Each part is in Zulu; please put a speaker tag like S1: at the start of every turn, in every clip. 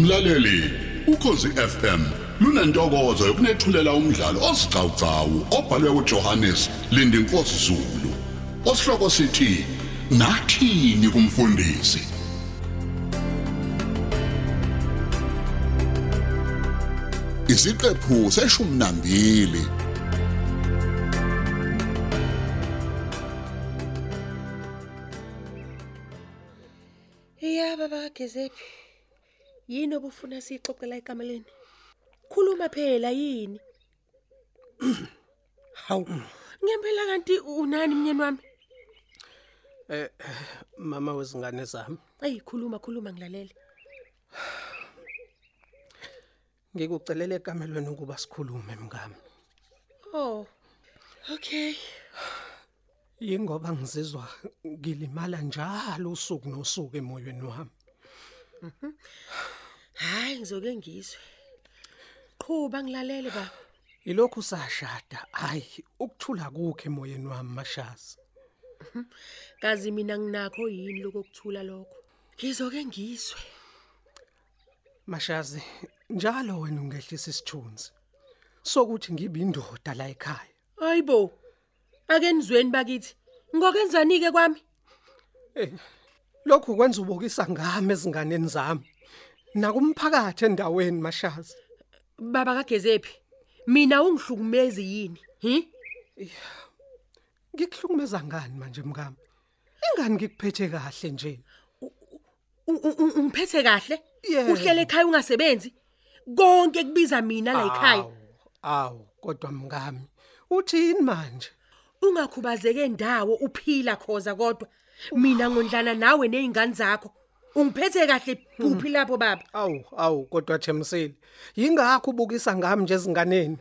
S1: Mlaleli, ukhosi FM lunantokozo yokunethulela umdlalo osiqhawqhawo obhalwe uJohannes Lindinkosi Zulu. Osihloko sithi nathini kumfundisi? Isiqephu seshumnambili
S2: Ya baba Gezephi. Yini obufuna sixoxe la ekameleni? Khuluma phela yini? Hawu. Ngempela kanti unani mnyeni wami?
S3: mama wezingane zami
S2: Ey khuluma khuluma ngilalele.
S3: ngikucelela ekamelweni ukuba sikhulume mngami
S2: Oh. Okay.
S3: yingoba ngizizwa ngilimala njalo usuku nosuku emoyeni wami
S2: Hayi ngizoke ngizwe. Qhuba ngilalele baba.
S3: ilokhu sashada hayi ukuthula kukhe emoyeni wami mashazi
S2: Kazi mina nginakho yini lokuthula lokho? Ngizoke ngizwe.
S3: mashazi njalo wena ungehlisa isithunzi sokuthi ngibe indoda la ekhaya
S2: Hayibo. Ake nizweni bakithi. Ngokenzani ke kwami?
S3: lokhu kwenza ubokisa ngami ezinganeni zami nakumphakathi endaweni mashazi
S2: Baba kaGezephi. Mina ungihlukumezi yini? Hm?
S3: ngikuhlukumeza ngani manje mngami ingani ngikuphethe kahle nje
S2: U- u- u- ungiphethe kahle
S3: Yebo.
S2: uhlele ekhaya ungasebenzi konke kubiza mina la ekhaya
S3: awu kodwa mngami uthini manje
S2: ungakhubazeke indawo uphila khoza kodwa mina ngondlana nawe nezingane zakho ungiphethe kahle kuphi lapho baba
S3: awu awu kodwa Themsile yingakho ubukisa ngami nje ezinganeni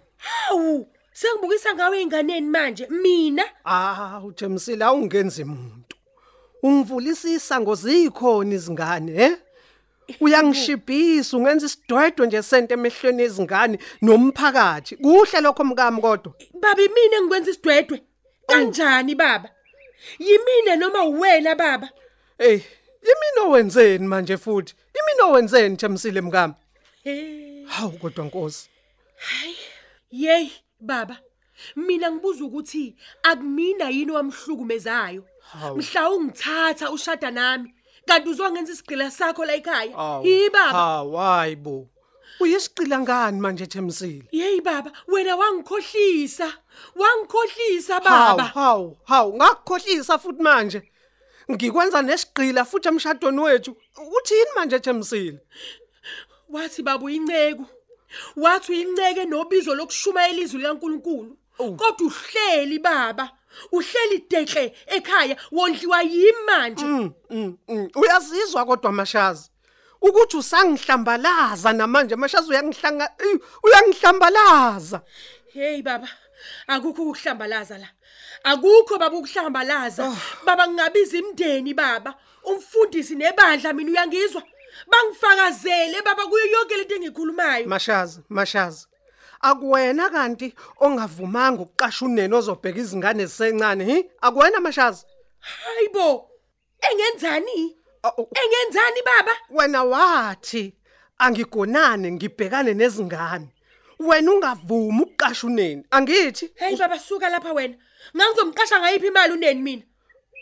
S2: awu sengibukisa ngawe einganeni manje mina
S3: awu Themsile awungenzi umuntu ungivulisisa ngozikhona izingane he uyangishibhisa ungenza isidwedwe nje sento emehlweni ezingane nomphakathi kuhle lokho mkami kodwa
S2: baba mina ngikwenza isidwedwe kanjani baba yimina noma uwena baba
S3: hey imino wenzeni manje futhi imino wenzeni Themsile mkami
S2: hey
S3: hawu kodwa nkosi
S2: Hayi, yey baba. Mina ngibuza ukuthi akumina yini wamhlukumezayo.
S3: Hawu.
S2: Mhla ungithatha ushada nami, kanti uzongenza isigcila sakho la ekhaya.
S3: Awu,
S2: Yi baba.
S3: Hawu hayibo. Uyisiqila ngani manje Themsile?
S2: Yey baba, wena wangikhohlisa. Wangikhohlisa
S3: Hawu
S2: baba.
S3: hawu hawu ngakukhohlisa futhi manje. Ngikwenza nesiqila futhi emshadweni wethu. Uthini manje Themsile?
S2: Wathi baba uyinceku. Wathi uyinceke nobizo lokushumayela izwi laNkuluNkulu. Kodwa uhleli baba. Uhleli dekle ekhaya wondliwa yimi manje.
S3: Mm, mm, mm. Uyazizwa kodwa mashazi. Ukuthi usangihlambalaza namanje mashazi uyangihlanga eyi, uyangihlambalaza.
S2: Hey baba, akukho ukuhlambalaza la. Akukho baba ukuhlambalaza. Baba ngingabiza imndeni baba. Umfundisi nebandla mina uyangizwa. Bangifakazele baba kuyo yonke lento engikhulumayo.
S3: Mashazi, mashazi. Akuwena kanti ongavumanga ukuqasha unene ozobheka izingane zisencane, hi? Akuwena mashazi.
S2: Hayibo. Engenzani?
S3: Awu,
S2: Engenzani baba?
S3: wena wathi angigonane ngibhekane nezingane wena ungavumi ukuqasha uneni angithi
S2: Hey baba suka lapha wena. Ngangizomqasha ngayiphi imali uneni mina?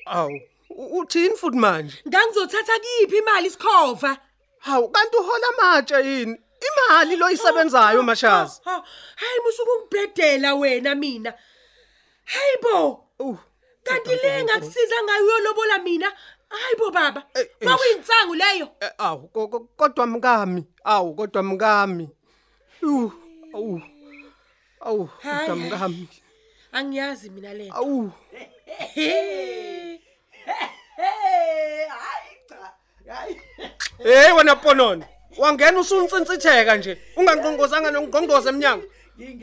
S3: awu u- uthini futhi manje
S2: Ngangizothatha kiphi imali isikhova?
S3: hawu kanti uhola amatshe yini imali loyisebenzayo mashazi
S2: Ha, hayi musukungibhedela wena mina. Hayibo.
S3: Uh,
S2: kanti le ngakusiza ngayo uyolobola mina hayibo baba
S3: Eh, eh.
S2: kwakuyinsangu leyo
S3: eh, awu ko- ko- kodwa mkami awu kodwa mkami Uh, awu awu
S2: Hayi,
S3: kodwa
S2: hayi.
S3: mkami
S2: angiyazi mina le nto.
S3: awu hey wena ponono wangena usunsintsitheka nje unganqongozanga nongqongoza emnyango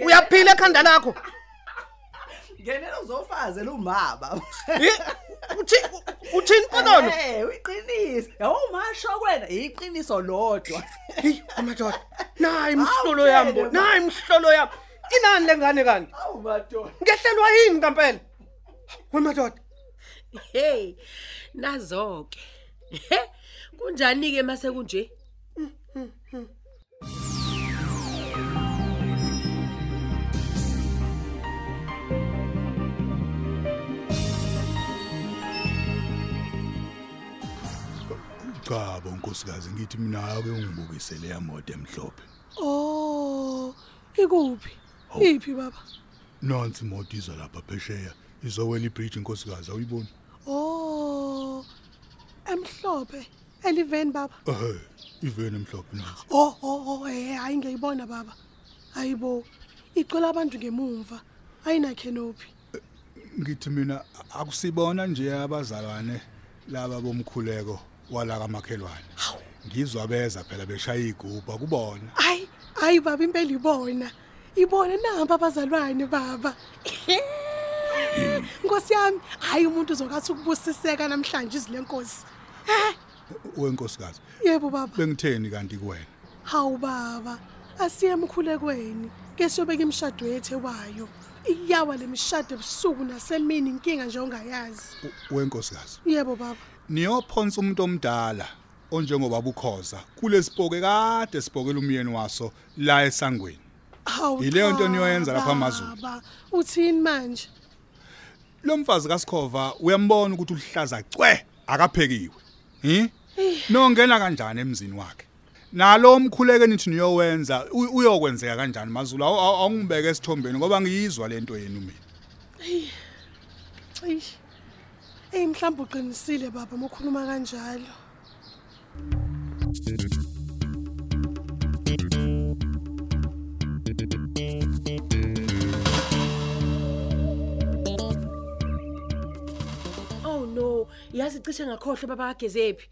S3: uyaphila ekhanda lakho
S4: ngenela uzofazela umaba
S3: Hi, uthi- uthini ponono
S4: Eh, uyiqiniso yawumasho kwena iqiniso lodwa
S3: heyi amadoda nayi
S4: Awutshele
S3: mhlolo yami bo
S4: ma.
S3: nayi mhlolo yami inani lengane kanti
S4: awu madoda
S3: ngehlelwa yini kampela wemadoda
S2: Ah. hey nazoke kunjani ke mase kunje
S1: Cabo nkosikazi ngithi mina ake ungibukise leya moto emhlophe.
S2: Oh, ikuphi? Iphi baba?
S1: Nansi imoto iza lapha phesheya. Izowela ibridge nkosikazi awuyiboni?
S2: Oh, emhlophe eliveni baba.
S1: Eh, iveni emhlophe nansi.
S2: Oh, oh, oh, eh hayi ngiyibona baba. Hayibo. Icela abantu ngemumva. Ayina canopy.
S1: Ngithi mina akusibona nje abazalwane laba bomkhuleko wala kamakhelwane. Ngizwa beza phela beshaya igubha kubona.
S2: Hayi, hayi baba impela ibona. Ibona namba abazalwane baba. Nkosi yami, hayi umuntu uzokathi ukubusiseka namhlanje izilenkosi.
S1: wenkosikazi
S2: Yebo baba.
S1: bengitheni kanti kuwena
S2: Hawu baba, asiye emkhulekweni, ke siyobeka imshado yethu wayo. Iyawa lemishado ebusuku nasemini inkinga nje ongayazi.
S1: U- wenkosikazi
S2: Yebo baba.
S1: niyophonsa umuntu omdala onjengobaba ukhoza kulesipoke kade sibokela umyeni waso la esangweni
S2: Hawu.
S1: Yileyo nto
S2: cha,
S1: niyoyenza lapha amaZulu.
S2: baba. Uthini manje?
S1: lo mfazi kasikhova uyambona ukuthi ulihlaza cwe akaphekiwe hi nongena kanjani emzini wakhe nalo umkhuleke nithi niyowenza u- uyokwenzeka kanjani mazulu Awu- awu- awungibeke esithombeni ngoba ngiyizwa lento yenu mina
S2: Eyi. Ey mhlamba uqinisile baba mokhuluma kanjalo. Oh no, yazi cishe ngakhohle baba kagezephi.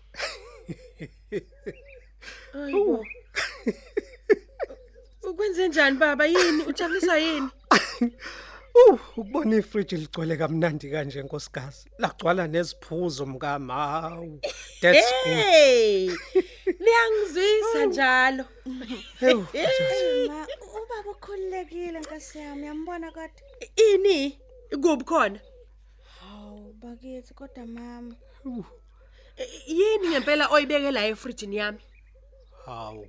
S2: Ayibo. Ukwenze njani baba yini? Ujabulisa yini?
S3: Uh, ukubona ifridge ligcwele kamnandi kanje nkosikazi. Lagcwala neziphuzo mkama. Hawu. That's good.
S2: Hey! Niyangizwisa njalo.
S3: Hewu.
S5: Ma, ubaba ukhululekile nkasi yami uyambona kodwa
S2: Ini kuphi khona?
S5: hawu bakithi kodwa mama
S2: I- Yini ngempela oyibeke la efrijini yami?
S3: Hawu.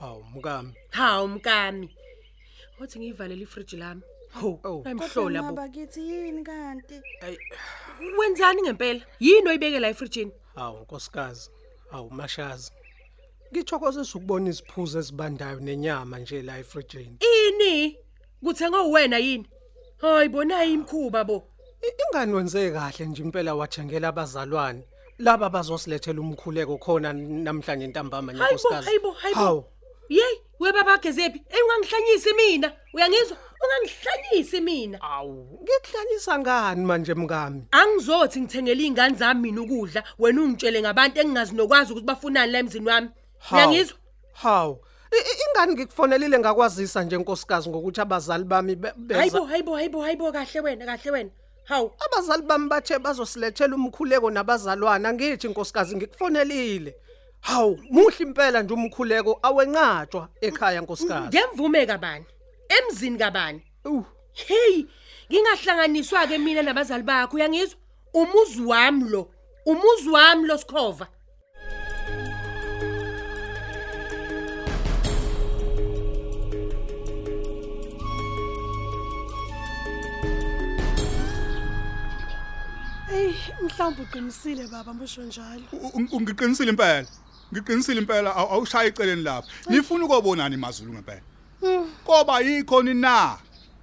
S3: Hawu mkama.
S2: Hawu mkami. Wathi ngiyivalele ifriji lami. Ho,
S3: Oh.
S2: ayimhlola
S5: ma,
S2: bo.
S5: bakithi yini kanti
S2: Wenzani ngempela? Yini oyibeke la efrijini?
S3: Hawu nkosikazi. Hawu mashazi. Ngithokozisa ukubona iziphuzo ezibandayo nenyama nje la efridge.
S2: Ini? Kuthenga uwena yini? Hayibonayi imkhuba bo.
S3: I- ingane wenze kahle nje impela wathengela abazalwane laba bazosilethela umkhuleko khona namhlanje ntambama
S2: Hayibo,
S3: nenkosikazi
S2: hayibo, hayibo. Yey, webaba gezephi? Ey ungangihlanyisi mina. Uyangizwa? Ungangihlanyisi mina.
S3: awu ngikuhlalisa ngani manje mkami
S2: Angizothi ngithengele izingane zami mina ukudla, wena ungitshele ngabantu engingazi nokwazi ukuthi bafunani la emzini wami.
S3: Hawu.
S2: Uyangizwa?
S3: hawu I- i- ingane ngikufonelile ngakwazisa nje nkosikazi ngokuthi abazali bami be- beza-
S2: Hayibo, hayibo, hayibo, hayibo kahle wena, kahle wena. Hawu.
S3: abazali bami bathe bazosilethela umkhuleko nabazalwana ngithi nkosikazi ngikufonelile hawu muhle impela nje umkhuleko awenqatshwa ekhaya nkosikazi
S2: Ngemvume kabani? Emzini kabani?
S3: Uh,
S2: Hey, ngingahlanganiswa ke mina nabazali bakho, uyangizwa? Umuzi wami lo, umuzi wami lo Sikhova. Ey, mhlawumbe uqinisile baba musho njalo.
S1: U- u- ungiqinisile impela ngiqinisile impela aw- awushaye iceleni lapha nifuna ukubonani mazulu ngempela koba yikhoni na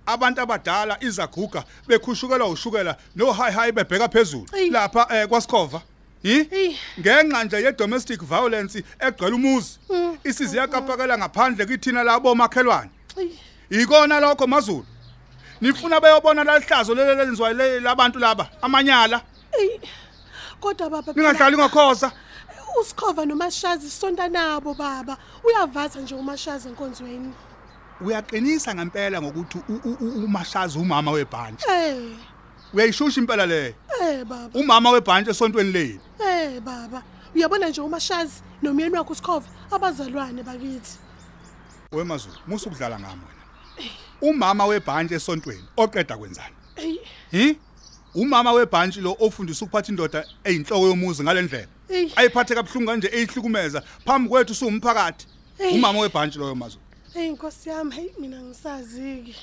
S1: abantu abadala izaguga bekhushukelwa ushukela no high high bebheka phezulu
S2: Eyi.
S1: lapha eh, kwasikhova hi
S2: Eyi.
S1: ngenxa nje ye domestic violence egcwele umuzi
S2: Mm.
S1: isizi yakapakela ngaphandle kithina labo makhelwane ikona lokho mazulu nifuna bayobona lalihlazo lelelenziwa labantu laba amanyala
S2: Ey. Kodwa baba phela-
S1: ningadlali ngokhoza
S2: usikhova nomashazi sonta nabo baba uyavaza nje umashazi enkonzweni
S1: uyaqinisa ngempela ngokuthi u- u- u- umashazi umama webhantshi
S2: eh
S1: uyayishusha impela leyo
S2: eh baba
S1: umama webhantshi esontweni leni
S2: eh baba uyabona nje umashazi nomyeni wakhe usikhova abazalwane bakithi
S1: wemazulu musa ukudlala ngami wena umama webhantshi esontweni oqeda kwenzani
S2: ey
S1: hi umama webhantshi lo ofundisa ukuphatha indoda eyinhloko yomuzi ngale ndlela
S2: Eyi.
S1: ayiphathe kabuhlungu kanje eyihlukumeza phambi kwethu siwumphakathi
S6: Eyi.
S1: umama webhantshi loyo mazulu
S6: Hey inkosi yami hey mina ngisaziki.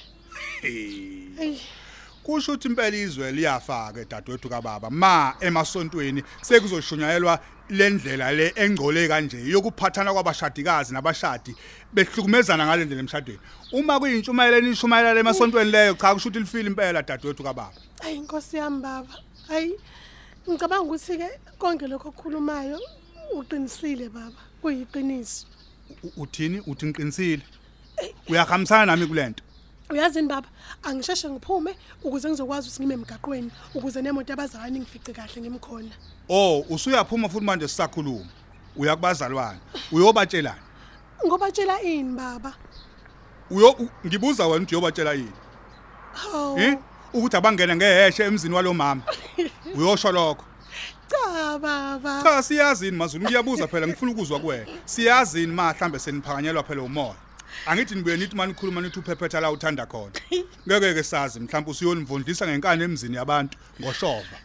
S6: Hey
S1: kusho ukuthi impela izwe liyafa-ke dadewethu kababa ma emasontweni sekuzoshunyayelwa le ndlela le engcole kanje yokuphathana kwabashadikazi nabashadi behlukumezana ngale ndlela emshadweni uma kuyintshumayelo enishumayelala emasontweni leyo cha kusho ukuthi lifile impela dadewethu kababa
S6: hey inkosi yami baba. Hey ngicabanga ukuthi ke konke lokho okukhulumayo uqinisile baba. Kuyiqiniso.
S1: U- uthini uthi ngiqinisile uyahambisana nami kule nto
S6: Uyazini baba, angisheshe ngiphume ukuze ngizokwazi ukuthi ngime emgaqweni ukuze nemoto yabazayo ngingifice kahle ngimkhona.
S1: o Oh, usuyaphuma futhi manje sisakhuluma uyakubazalwane uyobatshelani
S6: Ngobatshela ini baba?
S1: uyo u- ngibuza wena ukuthi uyobatshela yini Eh?
S6: Hawu.
S1: ukuthi abangena ngeheshe emzini walomama uyosho lokho
S6: Cha baba.
S1: cha siyazini mazulu ngiyabuza phela ngifuna ukuzwa kuwena siyazini ma mhlambe seniphakanyelwa phela umoya angithi nibuye nithi mani ukhuluma nithi uphephetha la uthanda khona ngeke ke sazi mhlawumbe usuyonivondlisa ngenkani emzini yabantu ngoshova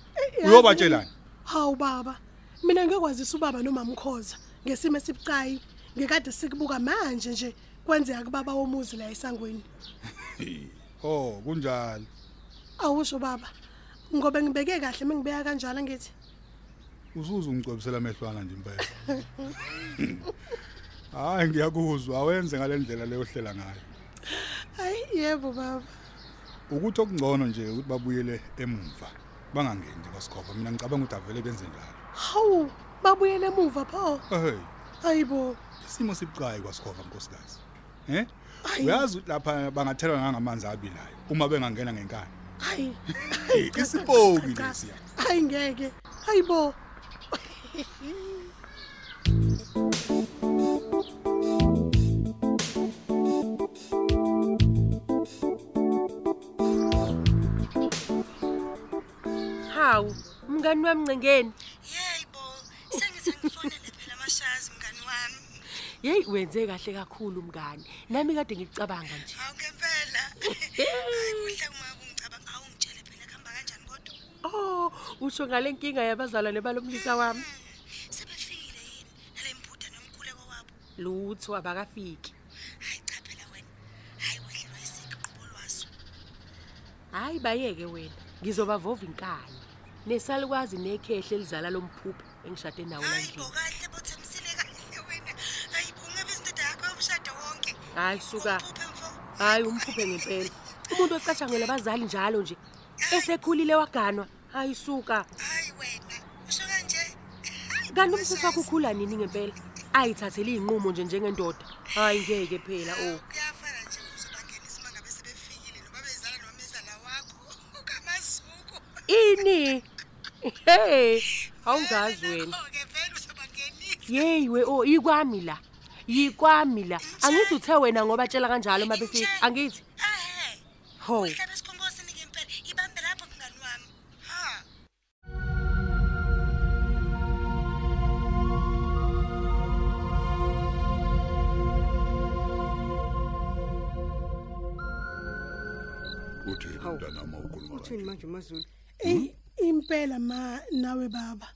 S1: uyobatshelani
S6: Hawu baba. Mina ngekwazisa ubaba nomamkhoza ngesimo esibucayi ngekade sikubuka manje nje kwenzeka kubaba womuzi la esangweni.
S1: oh kunjani
S6: Awusho baba. Ngobe ngibeke kahle mengibeka kanjalo ngithi.
S1: usuze ungicwebisela amehlwana nje impela hayi ngiyakuzwa awenze ngale ndlela leyohlela ngayo
S6: Hayi yebo baba.
S1: ukuthi okungcono nje ukuthi babuyele emumva bangangeni nje kwasikhofa mina ngicabanga ukuthi avele benze njalo
S6: Hawu babuyele emuva pho.
S1: hey
S6: Hayibo.
S1: isimo sibucayi kwasikhofa nkosikazi eh uyazi ukuthi lapha bangathelwa nangamanzi abilayo uma bengangena ngenkani
S6: Hayi.
S1: Eh, isipoki
S6: Cha,
S1: lesiya
S6: Hayi ngeke. Hayibo.
S2: hawu mngani wami ncengeni
S5: Yebo, sengize ngifonele phela amashazi mngani wami.
S2: yeyi wenze kahle kakhulu mngani nami kade ngicabanga nje
S5: Hawu ke phela. Hayi kuhle uma ungicabanga awungitshele phela kuhamba kanjani kodwa.
S2: o Oh, usho ngale nkinga yabazalwane balomlisa wami
S5: Hmm, Sebefikile yini nale mbhuda nomkhuleko wabo?
S2: lutho abakafiki
S5: Hayi cha phela wena. Hayi wehlelwa isiqo qobolwaso.
S2: hhayi bayeke wena ngizobavova inkani nesalukwazi nekhehle elizala lomphuphi engishade nawo
S5: Hayi bo
S2: landlini
S5: kahle bothemsile kahle wena. Hayi bo ungabe isindoda yakho yomshado wonke.
S2: hhayi suka
S5: Uphuphe mfo.
S2: hhayi umphuphe ngempela umuntu ocatshangelwa abazali njalo nje esekhulile waganwa hhayi suka
S5: Hayi wena. Usho kanje. Hayi,
S2: kanti umsisi wakho
S5: Mashazi.
S2: ukhula nini ngempela ayithathele iy'nqumo nje njengendoda hhayi ngeke phela oh. o
S5: kuyafana nje uzobangena uma ngabe sebefikile noma bezala nomizala wakho ukamasuku
S2: ini hey awungazi wena
S5: ke vele uzobangenisa
S2: yeyi we o ikwami la yikwami la angithi uthe wena ngoba tshela kanjalo uma befika angithi
S5: ehe
S2: ho
S5: uhlala esikhongosini ke impela ibambe lapho mngani wami ha
S7: uthini mntanami awukhuluma
S8: uthini manje mazulu
S6: Ey impela ma nawe baba.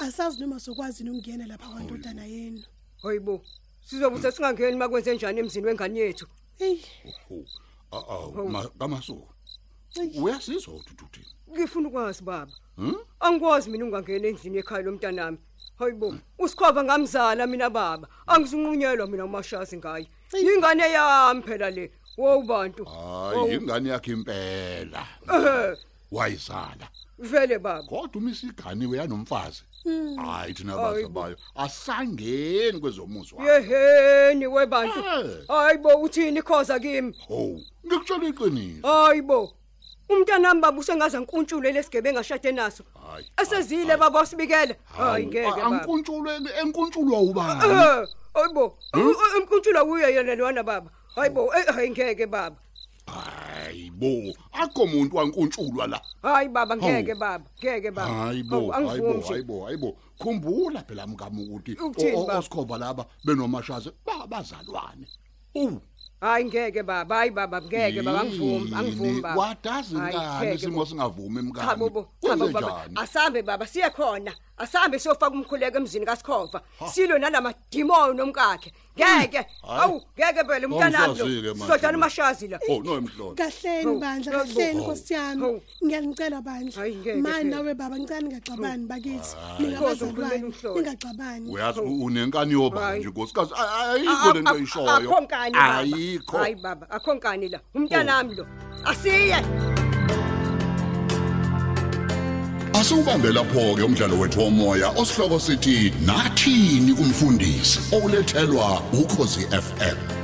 S6: Asazi noma sokwazi ukungena lapha kwantodana yenu.
S8: hoyibo sizobutha singangeni makwenze njani emzini wengane yethu
S6: Hey
S7: awu kamasuku uyasizwa ukuthi uthini
S8: ngifuna ukwazi baba angikwazi mina ungangena endlini ekhaya lomntanami hoyibo usikhova ngamzala mina baba angizunqunyelwa mina umashazi ngaye ingane yami phela le wowu bantu
S7: Ah.
S8: Oh.
S7: hayi ingane yakhe impela
S8: Ehhe,
S7: wayizala
S8: vele baba
S7: kodwa uma isiganiwe yanomfazi hayi thina
S8: Hmm. Hayi bo.
S7: bazabayo asangeni kwezomuzi wakhe
S8: yeheni webantu
S7: Eh.
S8: hayibo uthini ikhoza kimi
S7: ho ngikutshela iqiniso
S8: hayibo umntanami baba usengaza nkuntshule lesigebenga ashade naso
S7: Hayi,
S8: esezile baba wasibikele hayi ngeke baba
S7: ankuntshulwe enkuntshulwa ubani
S8: Eh, Hayibo, umkuntshula kuye yena lwana baba. Hayibo, eh, hayi ngeke baba.
S7: hayi bo akho muntu wankuntshulwa la
S8: Hayi baba ngeke
S7: Hawu.
S8: baba, ngeke baba.
S7: hayi
S8: Hawu,
S7: bo hayi bo
S8: angivumi nje.
S7: hayi bo hayi bo khumbula phela mkami ukuthi
S8: Ukuthini,
S7: o- o-
S8: baba?
S7: osikhova laba benomashaze babazalwane u
S8: Hayi ngeke baba, hayi baba ngeke baba angivumi, angivumi baba.
S7: wadazi
S8: Hayi,
S7: ngani
S8: ngeke,
S7: isimo
S8: baba.
S7: singavumi mkami
S8: Cha bobo, cha bobo baba. Asambe baba siye khona.
S2: asambe siyofaka umkhuleko emzini kaSikhova silo nalamadimoni nomkakhe ngeke
S7: Hmm.
S2: awu ngeke phela umntanami lo
S7: Awumsazi-ke Oh, manje
S2: sizodlala
S7: lo.
S2: umashazi la
S7: Oh no emhlolo.
S6: kahleni bandla
S2: yebo.
S6: kahleni nkosi
S2: Hawu.
S6: yami ngiyanicela bandla
S2: Hayi, ngeke
S6: mani
S2: phela.
S6: nawe baba ngicela ningaxabani bakithi
S2: Nkosi, ukhulumela
S6: ningabazalwane
S2: umhlolo.
S6: ningaxabani
S7: Uyazi u- unenkani yoba
S2: Hayi.
S7: nje nkosikazi Ay- ayikho lento
S2: Akho
S7: eyishoyo.
S2: nkani baba. Hayi
S7: Ayikho. Oh.
S2: baba, akho nkani la. Umntanami lo. Asiye.
S7: Asubambe lapho ke umdlalo wethu womoya osihloko sithi nathini kumfundisi olethelwa ukhosi FM.